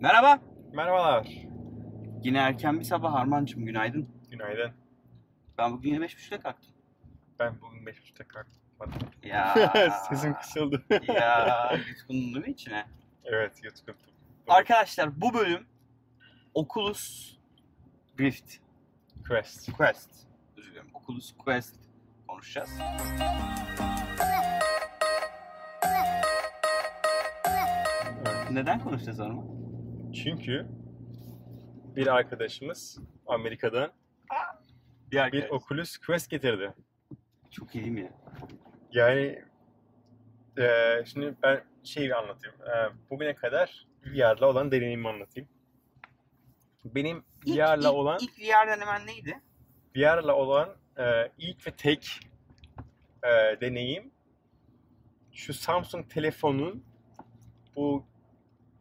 Merhaba. Merhabalar. Yine erken bir sabah Harmancığım günaydın. Günaydın. Ben bugün yine 5.30'da kalktım. Ben bugün 5.30'da kalkmadım. Ya. Sesim kısıldı. ya yutkundu değil mi içine? evet, yutkundum. Arkadaşlar bu bölüm Oculus Rift. Quest. Quest. Özür dilerim. Oculus Quest konuşacağız. Neden konuşacağız onu? Çünkü bir arkadaşımız Amerika'dan Diğer bir Oculus Quest getirdi. Çok iyi değil mi ya? Yani eee, şimdi ben şeyi anlatayım. Eee, bugüne kadar VR'la olan deneyimimi anlatayım. Benim VR'la olan ilk VR denemen neydi? VR'la olan e, ilk ve tek e, deneyim şu Samsung telefonun bu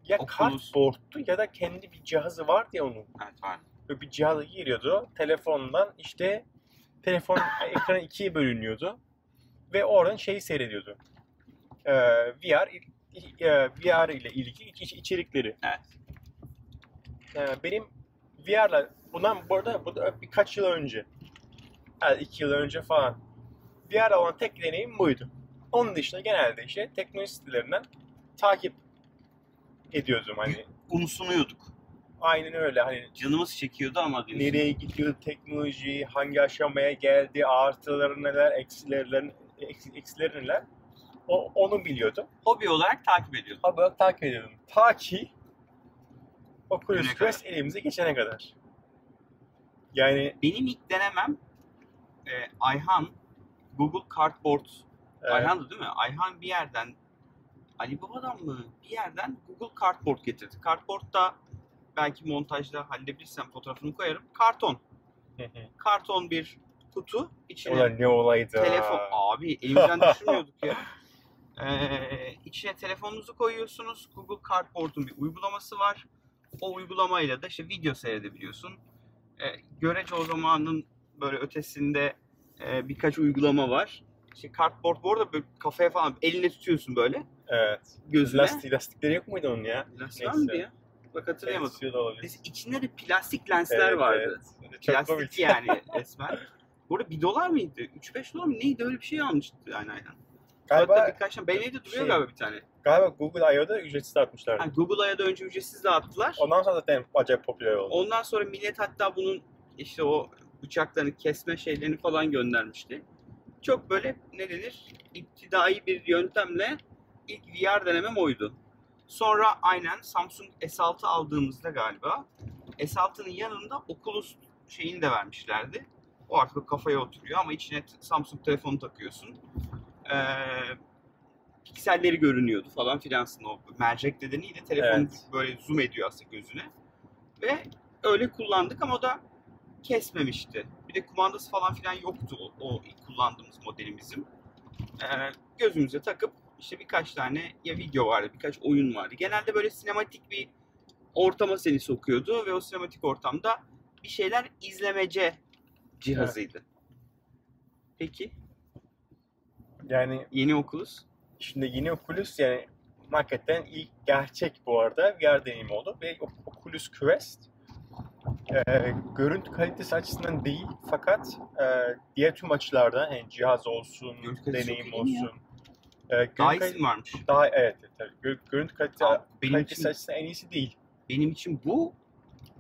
ya Oculus. kartboardtu ya da kendi bir cihazı vardı ya onun. Evet var. Böyle bir cihaza giriyordu. Telefondan işte telefon ekranı ikiye bölünüyordu. Ve oradan şeyi seyrediyordu. E, VR il- il- e, VR ile ilgili iç- iç- içerikleri. Evet. E, benim VR'la bundan bu arada bu da birkaç yıl önce. Yani iki yıl önce falan. VR'la olan tek deneyim buydu. Onun dışında genelde işte teknoloji sitelerinden takip ediyordum hani. Umsunuyorduk. Aynen öyle hani Canımız çekiyordu ama diyorsun. nereye gidiyor teknoloji, hangi aşamaya geldi, artıları neler, eksileri, eks- eksileri neler. O, onu biliyordum. Hobi olarak takip ediyorduk. Abi olarak takip ediyordum. Ta ki Oculus Güne Quest elimize geçene kadar. Yani Benim ilk denemem e, Ayhan Google Cardboard e, Ayhan'dı değil mi? Ayhan bir yerden Ali Baba'dan mı? Bir yerden Google Cardboard getirdi. Cardboard da belki montajda halledebilirsem fotoğrafını koyarım. Karton. hı hı. Karton bir kutu. içine Ulan ne olaydı. telefon. Abi elimizden düşürmüyorduk ya. Ee, içine telefonunuzu koyuyorsunuz. Google Cardboard'un bir uygulaması var. O uygulamayla da işte video seyredebiliyorsun. Ee, görece o zamanın böyle ötesinde e, birkaç uygulama var. İşte Cardboard bu arada böyle kafaya falan eline tutuyorsun böyle Evet. gözüne. Lastik, lastikleri yok muydu onun ya? Lastik var mıydı Neyse. ya? Bak hatırlayamadım. Tutuyor da olabilir. Neyse, içinde de plastik lensler Evet, vardı. evet. Çok Plastik komik. yani resmen. Burada 1 dolar mıydı? 3-5 dolar mı? Neydi öyle bir şey almıştı yani aynen. Hatta Galiba, birkaç tane. Benim evde duruyor şey- galiba bir tane. galiba Google I.O.'da ücretsiz atmışlardı. Yani Google'a da önce ücretsiz dağıttılar. Ondan sonra zaten acayip popüler oldu. Ondan sonra millet hatta bunun işte o bıçaklarını kesme şeylerini falan göndermişti. Çok böyle ne denir İptidai bir yöntemle ilk VR denemem oydu. Sonra aynen Samsung S6 aldığımızda galiba S6'nın yanında Oculus şeyini de vermişlerdi. O artık kafaya oturuyor ama içine t- Samsung telefonu takıyorsun. Ee, pikselleri görünüyordu falan filansın o mercek nedeniyle telefon Evet. böyle zoom ediyor aslında gözüne. Ve öyle kullandık ama o da kesmemişti. Bir de kumandası falan filan yoktu o, o ilk kullandığımız modelimizin. Ee, gözümüze takıp işte birkaç tane ya video vardı, birkaç oyun vardı. Genelde böyle sinematik bir ortama seni sokuyordu ve o sinematik ortamda bir şeyler izlemece cihazıydı. Peki Yani yeni Oculus Şimdi yeni Oculus yani hakikaten ilk gerçek bu arada VR deneyimi oldu ve o- Oculus Quest e, görüntü kalitesi açısından değil fakat e, diğer tüm açılardan yani cihaz olsun, Görüntü kalitesi deneyim çok iyi değil mi olsun. E, görüntü daha kalite- iyisi mi varmış. daha evet, evet, tabii. Gör- görüntü kalite, Abi, benim kalitesi için, açısından en iyisi değil. benim için bu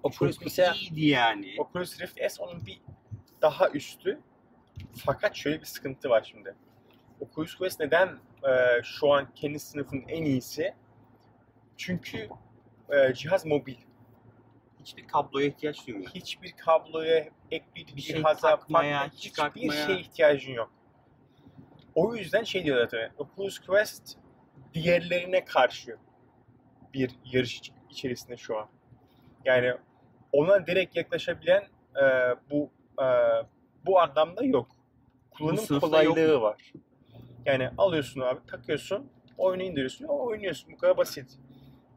Oculus çok iyiydi yani. Oculus Rift S onun bir daha üstü. Fakat şöyle bir sıkıntı var şimdi. Oculus Quest neden e, şu an kendi sınıfının en iyisi? Çünkü e, cihaz mobil. Hiçbir kabloya ihtiyaç duymuyor. Hiçbir kabloya, ek bir, Bir şey cihaza, takmaya, bakma, hiçbir çıkartmaya. şeye ihtiyacın yok. O yüzden şey diyorlar tabii. Oculus Quest diğerlerine karşı bir yarış iç- içerisinde şu an. Yani ona direkt yaklaşabilen e, bu e, bu anlamda yok. Bu Kullanım sınıfta yok kolaylığı var. Yani alıyorsun abi, takıyorsun, oyunu indiriyorsun, o- oynuyorsun. Bu kadar basit.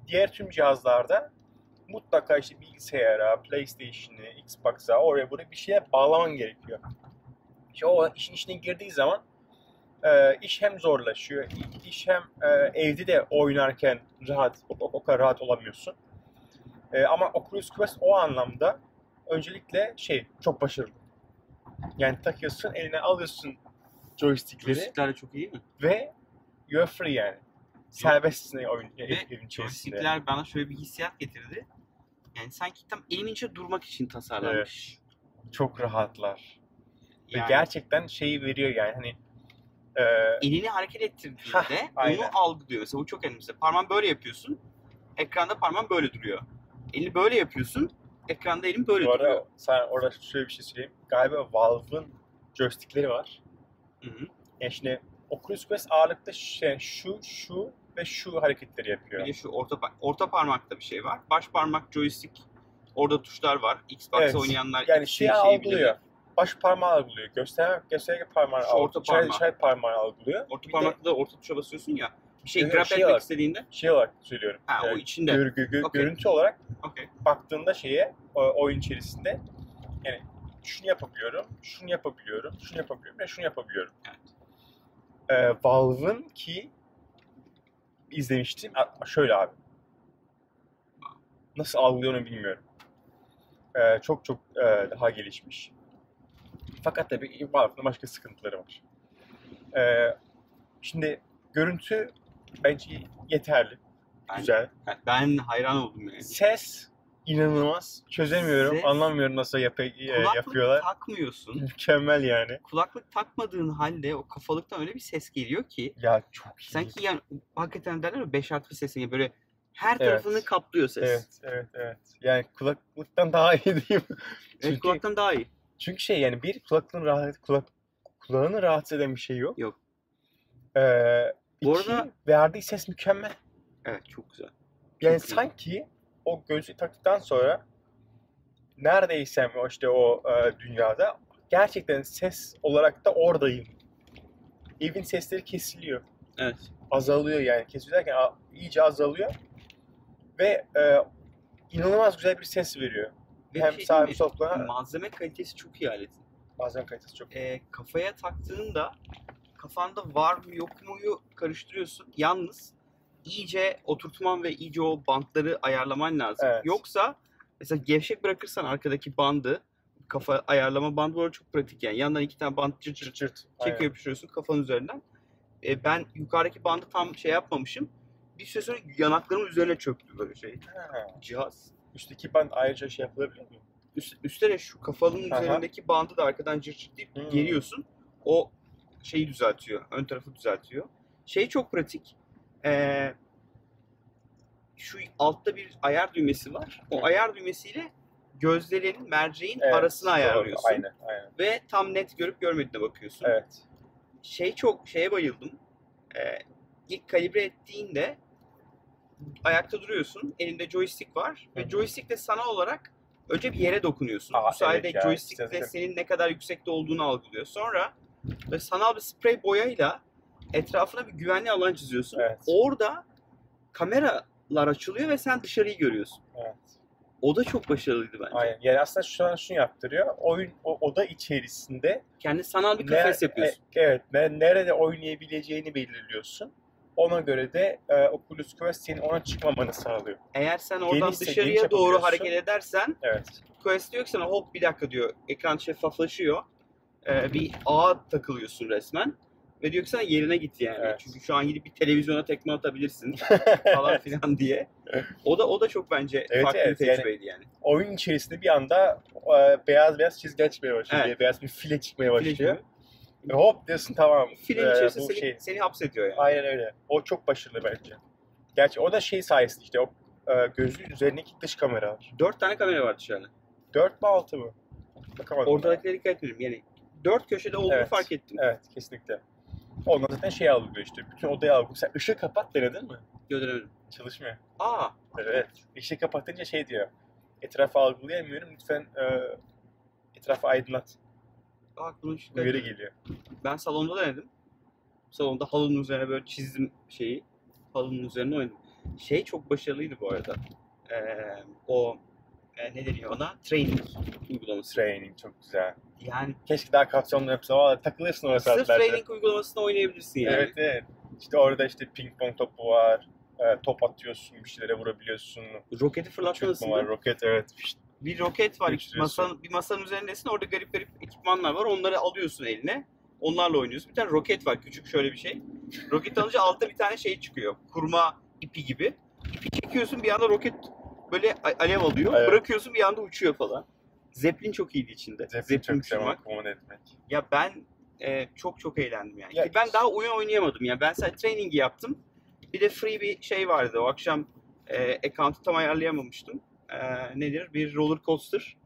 Diğer tüm cihazlarda mutlaka işte bilgisayara, PlayStation'ı, Xbox'a, oraya buraya bir şeye bağlaman gerekiyor. İşte o işin içine girdiği zaman e, iş hem zorlaşıyor, iş hem e, evde de oynarken rahat, o, o- o kadar rahat olamıyorsun. E, ama Oculus Quest o anlamda öncelikle şey çok başarılı. Yani takıyorsun eline alıyorsun joystickleri Joystickler çok iyi mi? ve you're free yani. Serbestsin e, oyun Ve ev- evin içerisinde. Joystickler bana şöyle bir hissiyat getirdi. Yani sanki tam elimin içinde durmak için tasarlanmış. Çok rahatlar. Yani Ve gerçekten şeyi veriyor yani hani e, elini hareket ettirdiğinde Hah, aynen. onu algılıyor. Mesela bu çok önemli. Mesela parmağını böyle yapıyorsun. Ekranda parmağın böyle duruyor. Eli böyle yapıyorsun. Ekranda elin böyle bu duruyor. arada sana orada şöyle bir şey söyleyeyim. Galiba Valve'ın joystickleri var. Hı-hı. Yani şimdi Oculus Quest ağırlıkta şey, şu, şu ve şu hareketleri Bir yapıyor. de şu orta, pa- orta parmakta bir şey var. Baş parmak joystick. Orada tuşlar var. Xbox Evet. oynayanlar şey Yani ikisini şeyi şeyi algılıyor. Baş parmağı algılıyor. Gösterge, gösterge parmağı Şu algılıyor. orta işaret- parmağı. işaret parmağı algılıyor. Orta Bir de- parmakla da orta tuşa basıyorsun ya. Bir şey Yok, grab şey etmek var. istediğinde Şey olarak söylüyorum. ha o Yani içinde. gör- gö- gö- Okey. Görüntü olarak Okey. baktığında şeye o- oyun içerisinde yani şunu yapabiliyorum, şunu yapabiliyorum, şunu yapabiliyorum ve şunu yapabiliyorum. Evet. Ee, Valve'ın ki izlemiştim. A- Şöyle abi. Nasıl algılıyor onu bilmiyorum. Ee, çok çok e, daha gelişmiş. Fakat tabii Valve'ın başka sıkıntıları var. Ee, şimdi görüntü bence yeterli. Ben, Güzel. Şey, ben hayran oldum yani. Ses inanılmaz. Çözemiyorum. Ses- Anlamıyorum nasıl yap- e, Kulaklık yapıyorlar. takmıyorsun. Mükemmel yani. Kulaklık takmadığın halde o kafalıktan öyle bir ses geliyor ki Ya çok iyi. sanki yani hakikaten derler ya 5 artı bir sesin ya böyle her Evet. tarafını kaplıyor ses. Evet. Evet, evet, evet. Yani kulaklıktan daha iyi diyeyim. Çünkü- kulaktan daha iyi. Çünkü şey yani bir kulaklığın rahat kulak kulağını rahatsız eden bir şey yok. Yok. Ee, Bu iki, arada- verdiği ses mükemmel. Evet çok güzel. Yani Çok iyi. sanki o gözlüğü taktıktan sonra neredeysem o işte o e, dünyada gerçekten ses olarak da oradayım. Evin sesleri kesiliyor. Evet. Azalıyor yani. Kesiliyor derken a- iyice azalıyor. Ve e, inanılmaz güzel bir ses veriyor. Ve hem bir şey sağ hem diyeyim sol mi? kulağa malzeme kalitesi çok iyi aletin. bazen kalitesi çok Ee, kafaya taktığında kafanda var mı yok muyu karıştırıyorsun. Yalnız iyice oturtman ve iyice o bantları ayarlaman lazım. Evet. Yoksa mesela gevşek bırakırsan arkadaki bandı kafa ayarlama bandı bu arada çok pratik yani. Yandan iki tane bant cırt cırt çırt çırt. çekiyor Aynen. yapıştırıyorsun kafanın üzerinden. Ee, ben yukarıdaki bandı tam şey yapmamışım. Bir süre sonra yanaklarımın üzerine çöktü böyle şey Ha. cihaz. Üstteki band ayrıca şey yapılabilir mi? Üst, üstüne şu kafanın Aha. üzerindeki bandı da arkadan cırt cırt deyip Hmm. geriyorsun. O şeyi düzeltiyor. Ön tarafı düzeltiyor. Şey çok pratik. Ee, şu altta bir ayar düğmesi var. O Hı. ayar düğmesiyle gözlerin, merceğin Evet, arasını doğru. ayarlıyorsun. Aynen, aynen. Ve tam net görüp görmediğine bakıyorsun. Evet. Şey çok şeye bayıldım. Ee, ilk kalibre ettiğinde ayakta duruyorsun. Elinde joystick var. Hı Ve hı. joystickle sanal olarak önce bir yere dokunuyorsun. Aa, Bu sayede evet ya, joystickle işte- senin ne kadar yüksekte olduğunu algılıyor. Sonra böyle sanal bir sprey boyayla etrafına bir güvenli alan çiziyorsun. Evet. Orada kameralar açılıyor ve sen dışarıyı görüyorsun. Evet. O da çok başarılıydı bence. Aynen. Yani aslında şu an şunu yaptırıyor. Oyun o, oda içerisinde Kendi sanal bir ne- kafes yapıyorsun. e- evet. Ne, nerede oynayabileceğini belirliyorsun. Ona göre de e, Oculus Quest senin ona çıkmamanı sağlıyor. Eğer sen oradan Genişse geniş dışarıya doğru yapabiliyorsun. hareket edersen Evet. Quest diyor ki sana hop bir dakika diyor. Ekran şeffaflaşıyor. Ee, bir ağa takılıyorsun resmen. Ve diyor ki sana yerine git yani. Evet. Çünkü şu an gidip bir televizyona tekme atabilirsin falan filan diye. O da o da çok bence Evet, farklı evet, bir yani- tecrübeydi yani. Oyun içerisinde bir anda e, beyaz beyaz çizgiler çıkmaya başlıyor. Evet. Beyaz bir file çıkmaya File başlıyor. gibi. Ve hop diyorsun tamam. Filin e, içerisinde bu seni, şey. seni hapsediyor yani. Aynen öyle. O çok başarılı bence. Gerçi o da şey sayesinde işte o e, gözlüğün üzerindeki dış kamera var. Dört tane kamera var dışarıda. 4 mü 6 mı? Bakamadım. Ortadakilere dikkat etmedim. Yani dört köşede olduğunu Evet. fark ettim. Evet kesinlikle. Ondan zaten şey algılıyor işte. Bütün odayı algılıyor. Sen ışığı kapat denedin mi? Göremedim. Çalışmıyor. Aa Evet. Işığı kapatınca şey diyor. Etrafı algılayamıyorum. Lütfen e, etrafı aydınlat. aklıma hiç Uyarı gelmedi. geliyor. Ben salonda denedim. Salonda halının üzerine böyle çizdim şeyi. Halının üzerine oynadım. Şey çok başarılıydı bu arada. Ee, o e, ne deniyor ona? Training uygulaması. Training çok güzel. Yani Keşke daha kapsamlı yapsa. Valla takılırsın o sırf saatlerde. training uygulamasını oynayabilirsin yani. Evet evet. İşte orada işte ping pong topu var. e, top atıyorsun, bir şeylere vurabiliyorsun. Roketi Uçurtma fırlatmalısın. var, değil mi? roket evet. Fişt, Bir roket var. Geçiriyorsun. Masanın, bir masanın üzerindesin. Orada garip garip ekipmanlar var. Onları alıyorsun eline. Onlarla oynuyorsun. Bir tane roket var. Küçük şöyle bir şey. Roket alınca altta bir tane şey çıkıyor. Kurma ipi gibi. İpi çekiyorsun. Bir anda roket böyle a- alev alıyor. Evet. Bırakıyorsun bir anda uçuyor falan. Zeplin çok iyiydi içinde. Zeplin çok uçurmak. güzel kumon etmek. Ya ben e, çok çok eğlendim yani. Ya- Ki ben daha oyun oynayamadım yani. Ben sadece training'i yaptım. Bir de free bir şey vardı. O akşam e, account'u tam ayarlayamamıştım. E, nedir? Bir roller coaster.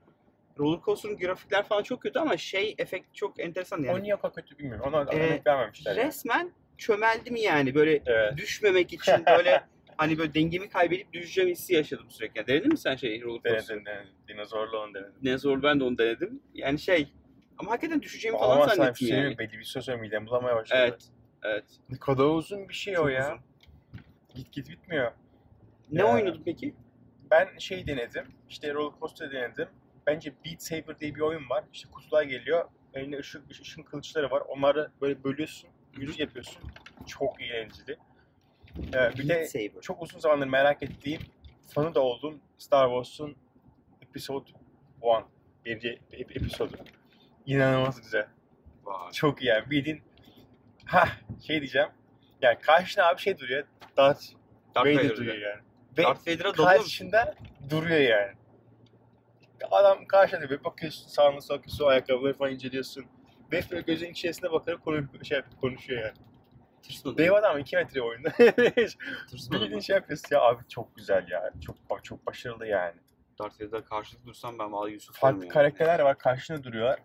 Roller coaster'ın grafikler falan çok kötü ama şey efekt çok enteresan yani. O niye yapan kötü bilmiyorum. Ona Ee, örnek vermemişler. yani. Resmen çömeldim yani böyle Evet. düşmemek için böyle hani böyle dengemi kaybedip düşeceğim hissi yaşadım sürekli. Yani denedin mi sen şey roller coaster? Denedin, denedin. Dinozorlu onu denedin. Ne zor ben de onu denedim. Yani şey ama hakikaten düşeceğimi falan Ama sen zannettim şey yani. yok. Belli bir söz midem bulamaya başladı. Evet. Evet. Ne kadar uzun bir şey o Çok ya. uzun. Git git bitmiyor. Ne Ya. oynadın peki? Ben şey denedim. İşte roller coaster denedim. Bence Beat Saber diye bir oyun var. İşte kutular geliyor. Elinde ışık, ışın kılıçları var. Onları böyle bölüyorsun. Yüz yapıyorsun. Çok eğlenceli. Ee, bir de Beat Saber. çok uzun zamandır merak ettiğim, fanı da oldum Star Wars'un Episode 1. Birinci ep- episodu. İnanılmaz güzel. Vay. Çok iyi yani. Bildiğin ha şey diyeceğim. Yani karşına abi şey duruyor. Darth Darth Vader Vader'da. duruyor yani. Ve Darth Vader'a dalıyor musun? karşında duruyor yani. Adam karşında bir bakıyorsun sağına sola bakıyorsun, ayakkabıları falan inceliyorsun. Ve böyle gözün içerisine bakarak konu, şey, konuşuyor yani. Tırsmadın Dev mı? adam 2 metre oyunda. Tırsmadın Bildiğin mı? şey yapıyorsun ya abi çok güzel ya. Çok bak çok başarılı yani. Darth Vader'a karşılık dursam ben vallahi Yusuf Farklı olmuyorum. karakterler var karşına duruyorlar.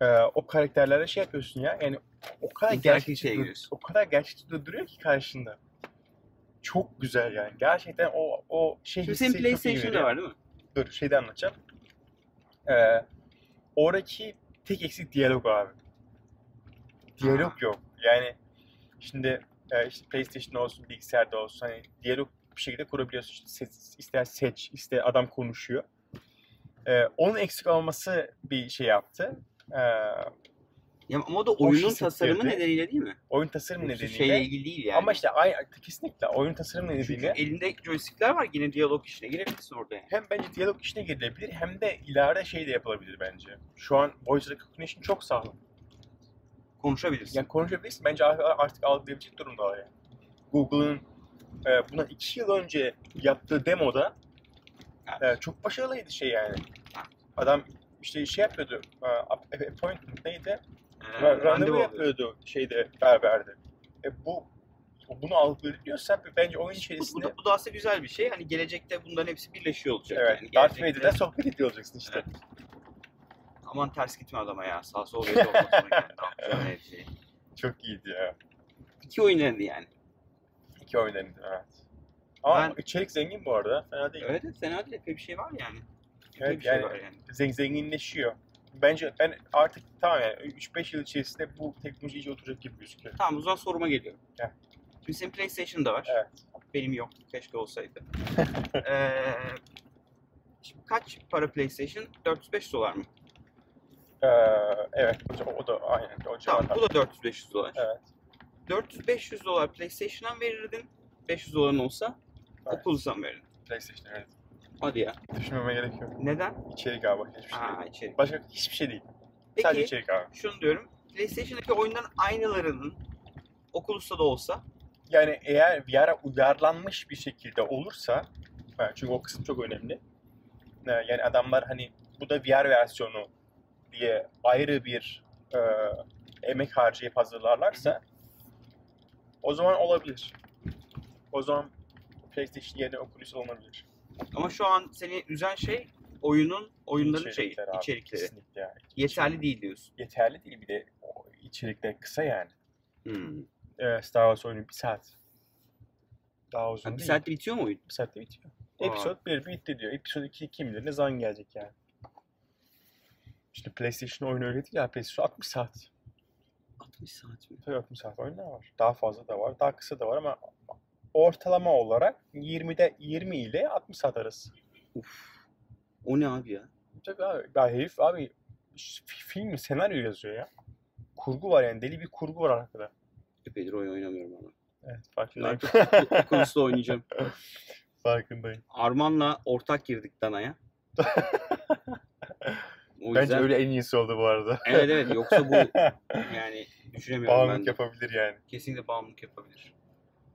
Ee, o karakterlerle şey yapıyorsun ya. Yani o kadar İnteraktif gerçekçi şeye dur- giriyorsun. o kadar gerçekçi dur- duruyor ki karşında. Çok güzel yani. Gerçekten o o şey Şimdi senin hissi çok iyi PlayStation'da veriyor. var değil mi? Dur şeyden anlatacağım. Ee, oradaki tek eksik diyalog abi. Diyalog Ha. yok. Yani şimdi e, işte PlayStation olsun, bilgisayarda olsun hani diyalog bir şekilde kurabiliyorsun. İşte ses- ister seç, ister adam konuşuyor. Ee, onun eksik olması bir şey yaptı. Ee, Ya, ama o da oyunun hissettirdi. tasarımı nedeniyle değil mi? oyun tasarımı Yoksa nedeniyle. Şeyle ilgili değil şey yani. Ama işte aynı, kesinlikle oyun tasarımı Çünkü nedeniyle elinde joystickler var yine diyalog işine girebilirsin orada yani. hem bence diyalog işine girilebilir hem de ileride şey de yapılabilir bence. Şu an voice recognition çok sağlam. Konuşabilirsin. Yani konuşabilirsin. Bence ar- artık algılayabilecek durumda yani. Google'ın e, buna iki yıl önce yaptığı demoda e, çok başarılıydı şey yani. Adam işte şey yapıyordu. e, ap- Appointment neydi? Ee, Ra- randevu, alıyor. yapıyordu şeyde berberde. E, bu bunu algılayabiliyorsa bence oyun Bu, bu, içerisinde da, bu da aslında güzel bir şey. Hani gelecekte bunların hepsi birleşiyor olacak. evet, yani. Darth Gelecekte- Vader'la sohbet ediyor olacaksın işte. Evet. Aman ters gitme adama ya. Sağ sol belli olmaz. ona yani. Ne yapacağım her şeyi. Çok iyiydi ya. İki oyun oynadı yani. İki oyun denedim, evet. Ama Ben- içerik zengin bu arada. Fena değil. Evet evet fena değil. Epey bir şey var yani. Epey Evet, bir şey yani- var yani. zen- zenginleşiyor. Bence ben artık tamam yani 3-5 yıl içerisinde bu teknoloji iyice oturacak gibi gözüküyor. Tamam o zaman soruma geliyorum. Gel. Şimdi senin PlayStation'da var. Evet. Benim yok. Keşke olsaydı. ee, şimdi kaç para PlayStation? 405 dolar mı? Ee, evet o, o da aynen o Tamam civarda. bu da 400-500 dolar. Evet. 400-500 dolar PlayStation'a verirdin. 500 doların olsa Evet. Oculus'a mı verirdin? PlayStation evet. Hadi ya. Düşünmeme gerek yok. Neden? İçerik abi başka hiçbir şey değil. Aa içerik. Başka hiçbir şey değil. Peki Sadece içerik abi. şunu diyorum. PlayStation'daki oyunların aynılarının Oculus'ta da olsa Yani eğer VR'a uyarlanmış bir şekilde olursa ha, çünkü o kısım çok önemli. Ee, Yani adamlar hani bu da VR versiyonu diye ayrı bir e, emek harcayıp hazırlarlarsa o zaman olabilir. O zaman PlayStation yerine Oculus olabilir. ama şu an seni üzen şey oyunun oyunların şeyi, abi, içerikleri. Kesinlikle. yani. Yeterli değil diyorsun. Yeterli değil bir de o içerikler kısa yani. Hmm. Ee, Star Wars oyunu bir saat. Daha uzun Ha, bir değil. saatte bitiyor mu oyun? Bir saatte bitiyor. Aa. Episode 1 bitti diyor. Episode 2 kim bilir ne zaman gelecek yani. Şimdi PlayStation oyunu öyle değil ya. PlayStation 60 saat. 60 saat mi? Tabii 60 saat oyunlar var. Daha fazla da var. Daha kısa da var ama ortalama olarak 20'de 20 ile 60 saat arası. O ne abi ya? Tabii abi. Ya herif abi ş- film senaryo yazıyor ya. Kurgu var yani. Deli bir kurgu var arkada. Epeydir oyun oynamıyorum ama. Evet Ben farkındayım. çok konusunda oynayacağım. farkındayım. Arman'la ortak girdik Dana'ya. O yüzden... Bence öyle en iyisi oldu bu arada. Evet evet yoksa bu yani düşünemiyorum Bağımlılık ben. yapabilir yani. Kesinlikle bağımlılık yapabilir.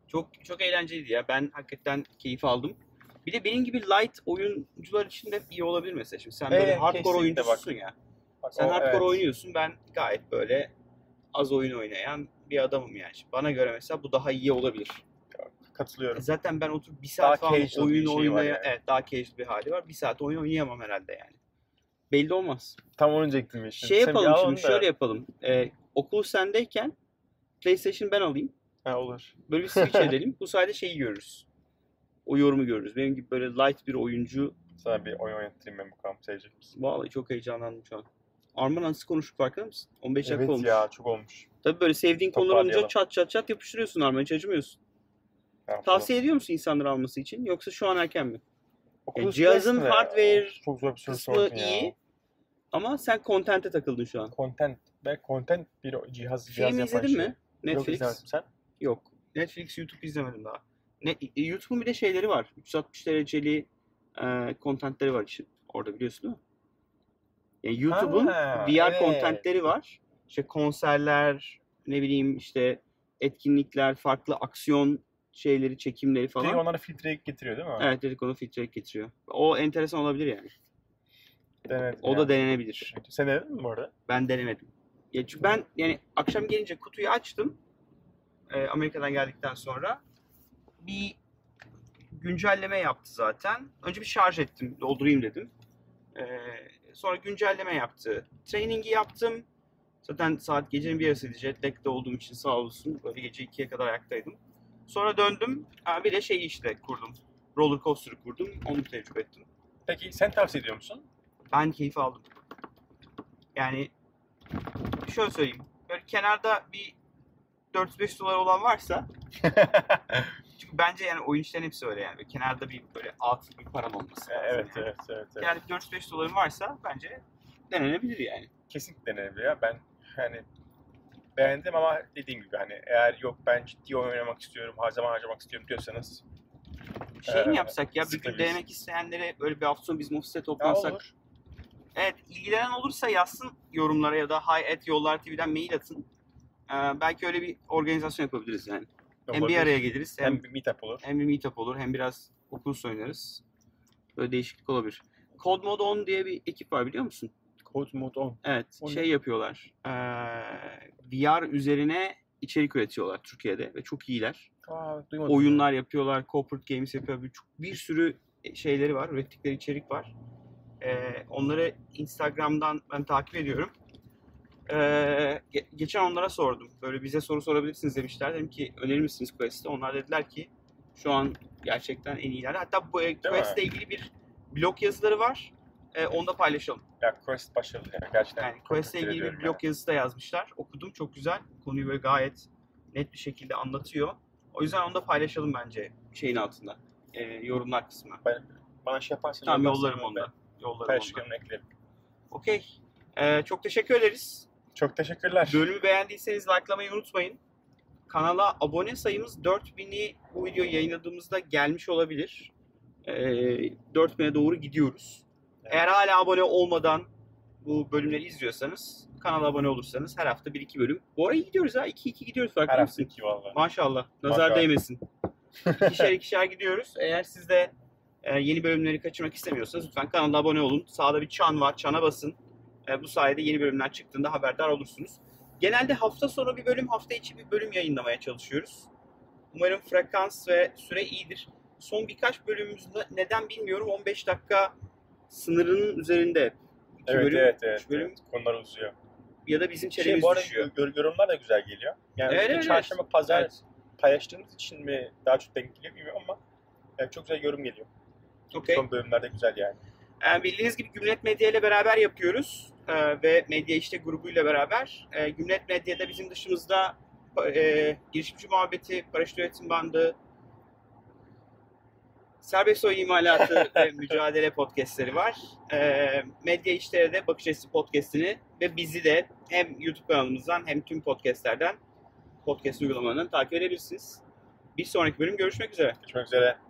Çok çok eğlenceliydi ya. Ben hakikaten keyif aldım. Bir de benim gibi light oyuncular için de iyi olabilir mesela. Şimdi sen böyle Evet, hardcore kesinlikle oyuncusun ya. Bak, Sen o- hardcore evet. oynuyorsun. Ben gayet böyle az oyun oynayan bir adamım yani. Şimdi bana göre mesela bu daha iyi olabilir. Katılıyorum. Zaten ben oturup bir Daha saat falan casual bir oyun şey var oynaya yani. evet daha casual bir hali var. Bir saat oyun oynayamam herhalde yani. Belli olmaz. Tam onu diyecektim ya. Şimdi şey sen bir yapalım al onu şimdi da- şöyle yapalım. Ee, okul sendeyken PlayStation ben alayım. Ha, olur. Böyle bir switch edelim. Bu sayede şeyi görürüz. O yorumu görürüz. Benim gibi böyle light bir oyuncu. Sana bir oyun oynatayım ben bakalım sevecek misin? Vallahi çok heyecanlandım şu an. Arman nasıl konuştuk farkında mısın? 15 dakika Evet Şey, olmuş. ya çok olmuş. Tabii böyle sevdiğin konular olunca Toparlayalım. çat çat çat yapıştırıyorsun Arman hiç acımıyorsun. Ne yapalım? Tavsiye ediyor musun insanları alması için yoksa şu an erken mi? Okul Yani E, cihazın sırasında ya. hardware çok zor bir soru kısmı sordun iyi. ya. Ama sen content'e takıldın şu an. Content ben content bir cihaz cihaz Filmi yapan izledin şey. mi? Yok Netflix. izlemedim sen. Yok. Netflix, YouTube izlemedim daha. Ne, YouTube'un bir de şeyleri var. 360 dereceli e, contentleri var işte. Orada biliyorsun değil mi? Yani YouTube'un Ha, VR evet. contentleri var. İşte konserler, ne bileyim işte etkinlikler, farklı aksiyon şeyleri, çekimleri Bir de falan. onlara filtre getiriyor değil mi? Evet dedik onu filtre getiriyor. O enteresan olabilir yani. Denedim O yani. da denenebilir. Sen denedin mi bu arada? Ben denemedim. Ya çünkü ben yani akşam gelince kutuyu açtım. Ee, Amerika'dan geldikten sonra bir güncelleme yaptı zaten. Önce bir şarj ettim, doldurayım dedim. Ee, sonra güncelleme yaptı. Training'i yaptım. Zaten saat gecenin bir yarısıydı. Jet lag'de olduğum için sağ olsun. Böyle gece 2'ye kadar ayaktaydım. Sonra döndüm. Ha, bir de şey işte kurdum. Roller coaster'ı kurdum. Onu tecrübe ettim Peki sen tavsiye ediyor musun? ben keyif aldım. Yani şöyle söyleyeyim. Böyle kenarda bir 4-5 dolar olan varsa E, çünkü bence yani oyun işlerin hepsi öyle yani. Böyle kenarda bir böyle altı bir param olması lazım. evet, yani. evet, evet, evet. Yani 4-5 doların varsa bence denenebilir yani. Kesinlikle denenebilir ya. Ben hani beğendim ama dediğim gibi hani eğer yok ben ciddi oyun oynamak istiyorum, harcama harcamak istiyorum diyorsanız Şey mi Ee, yapsak ya bir gün sıkabiliriz. denemek isteyenlere böyle bir hafta sonu biz Mofs'e ya toplansak. olur. Evet ilgilenen olursa yazsın yorumlara ya da hi at yollar tv'den mail atın. Ee, belki öyle bir organizasyon yapabiliriz yani. Hem bir Olabilir. araya geliriz hem hem bir meetup olur. hem bir meetup olur hem biraz Oculus oynarız. Böyle değişiklik olabilir. Code Mode 10 diye bir ekip var biliyor musun? Code Mode 10. Evet. O ne? şey yapıyorlar. Ee, VR üzerine içerik üretiyorlar Türkiye'de ve çok iyiler. Aa, duymadım. Oyunlar yapıyorlar, corporate games yapıyor. Bir, bir sürü şeyleri var, ürettikleri içerik var. Ee, onları Instagram'dan ben takip ediyorum. Ee, ge- geçen onlara sordum. Böyle bize soru sorabilirsiniz demişler. Dedim ki önerir misiniz Quest'i? Onlar dediler ki şu an gerçekten en iyiler. Hatta bu Quest'le ilgili bir blog yazıları var. Ee, onu da paylaşalım. Ya Quest başarılı ya gerçekten. Yani Çok Quest'le takdir ilgili bir ediyorum blog yazısı da yazmışlar. Okudum çok güzel. Konuyu böyle gayet net bir şekilde anlatıyor. O yüzden onu da paylaşalım bence şeyin altında. Ee, yorumlar kısmına. yani. Bana şey yaparsan Tamam yaparsın, yollarım ben onu da. Yollarım onu da. Paylaşırım eklerim. Okey. Ee, çok teşekkür ederiz. Çok teşekkürler. Bölümü beğendiyseniz likelamayı unutmayın. Kanala abone sayımız 4000'i bu video yayınladığımızda gelmiş olabilir. Ee, 4000'e doğru gidiyoruz. Eğer hala abone olmadan bu bölümleri izliyorsanız kanala abone olursanız her hafta 1-2 bölüm. Bu ara iyi gidiyoruz ha 2-2 gidiyoruz Her farkında hafta mısın? iki valla. Maşallah. Nazar Maşallah. değmesin. İkişer ikişer gidiyoruz. Eğer siz de e, yeni bölümleri kaçırmak istemiyorsanız lütfen kanala abone olun. Sağda bir çan var. Çana basın. E, bu sayede yeni bölümler çıktığında haberdar olursunuz. Genelde hafta sonu bir bölüm, hafta içi bir bölüm yayınlamaya çalışıyoruz. Umarım frekans ve süre iyidir. Son birkaç bölümümüzde neden bilmiyorum 15 dakika sınırının üzerinde. İki Evet, bölüm evet, evet, üç bölüm. evet. Konular uzuyor. ya da bizim çelemiz Şey, bu arada düşüyor. gör- yorumlar da güzel geliyor. Yani Evet, biz de evet. çarşamba, pazar Evet. paylaştığımız için mi daha çok denk geliyor bilmiyorum ama yani çok güzel yorum geliyor. Okey. Son bölümlerde güzel yani. Ee, bildiğiniz gibi Gümlet Medya ile beraber yapıyoruz Ee, ve Medya İşte grubuyla beraber. Ee, Gümlet Medya'da bizim dışımızda e, girişimci muhabbeti, paraşüt üretim bandı, serbest oyun imalatı ve mücadele podcastleri var. Ee, Medya İşte'ye de Bakış Açısı podcastini ve bizi de hem YouTube kanalımızdan hem tüm podcastlerden, podcast uygulamalarından takip edebilirsiniz. Bir sonraki bölüm görüşmek üzere. Görüşmek üzere.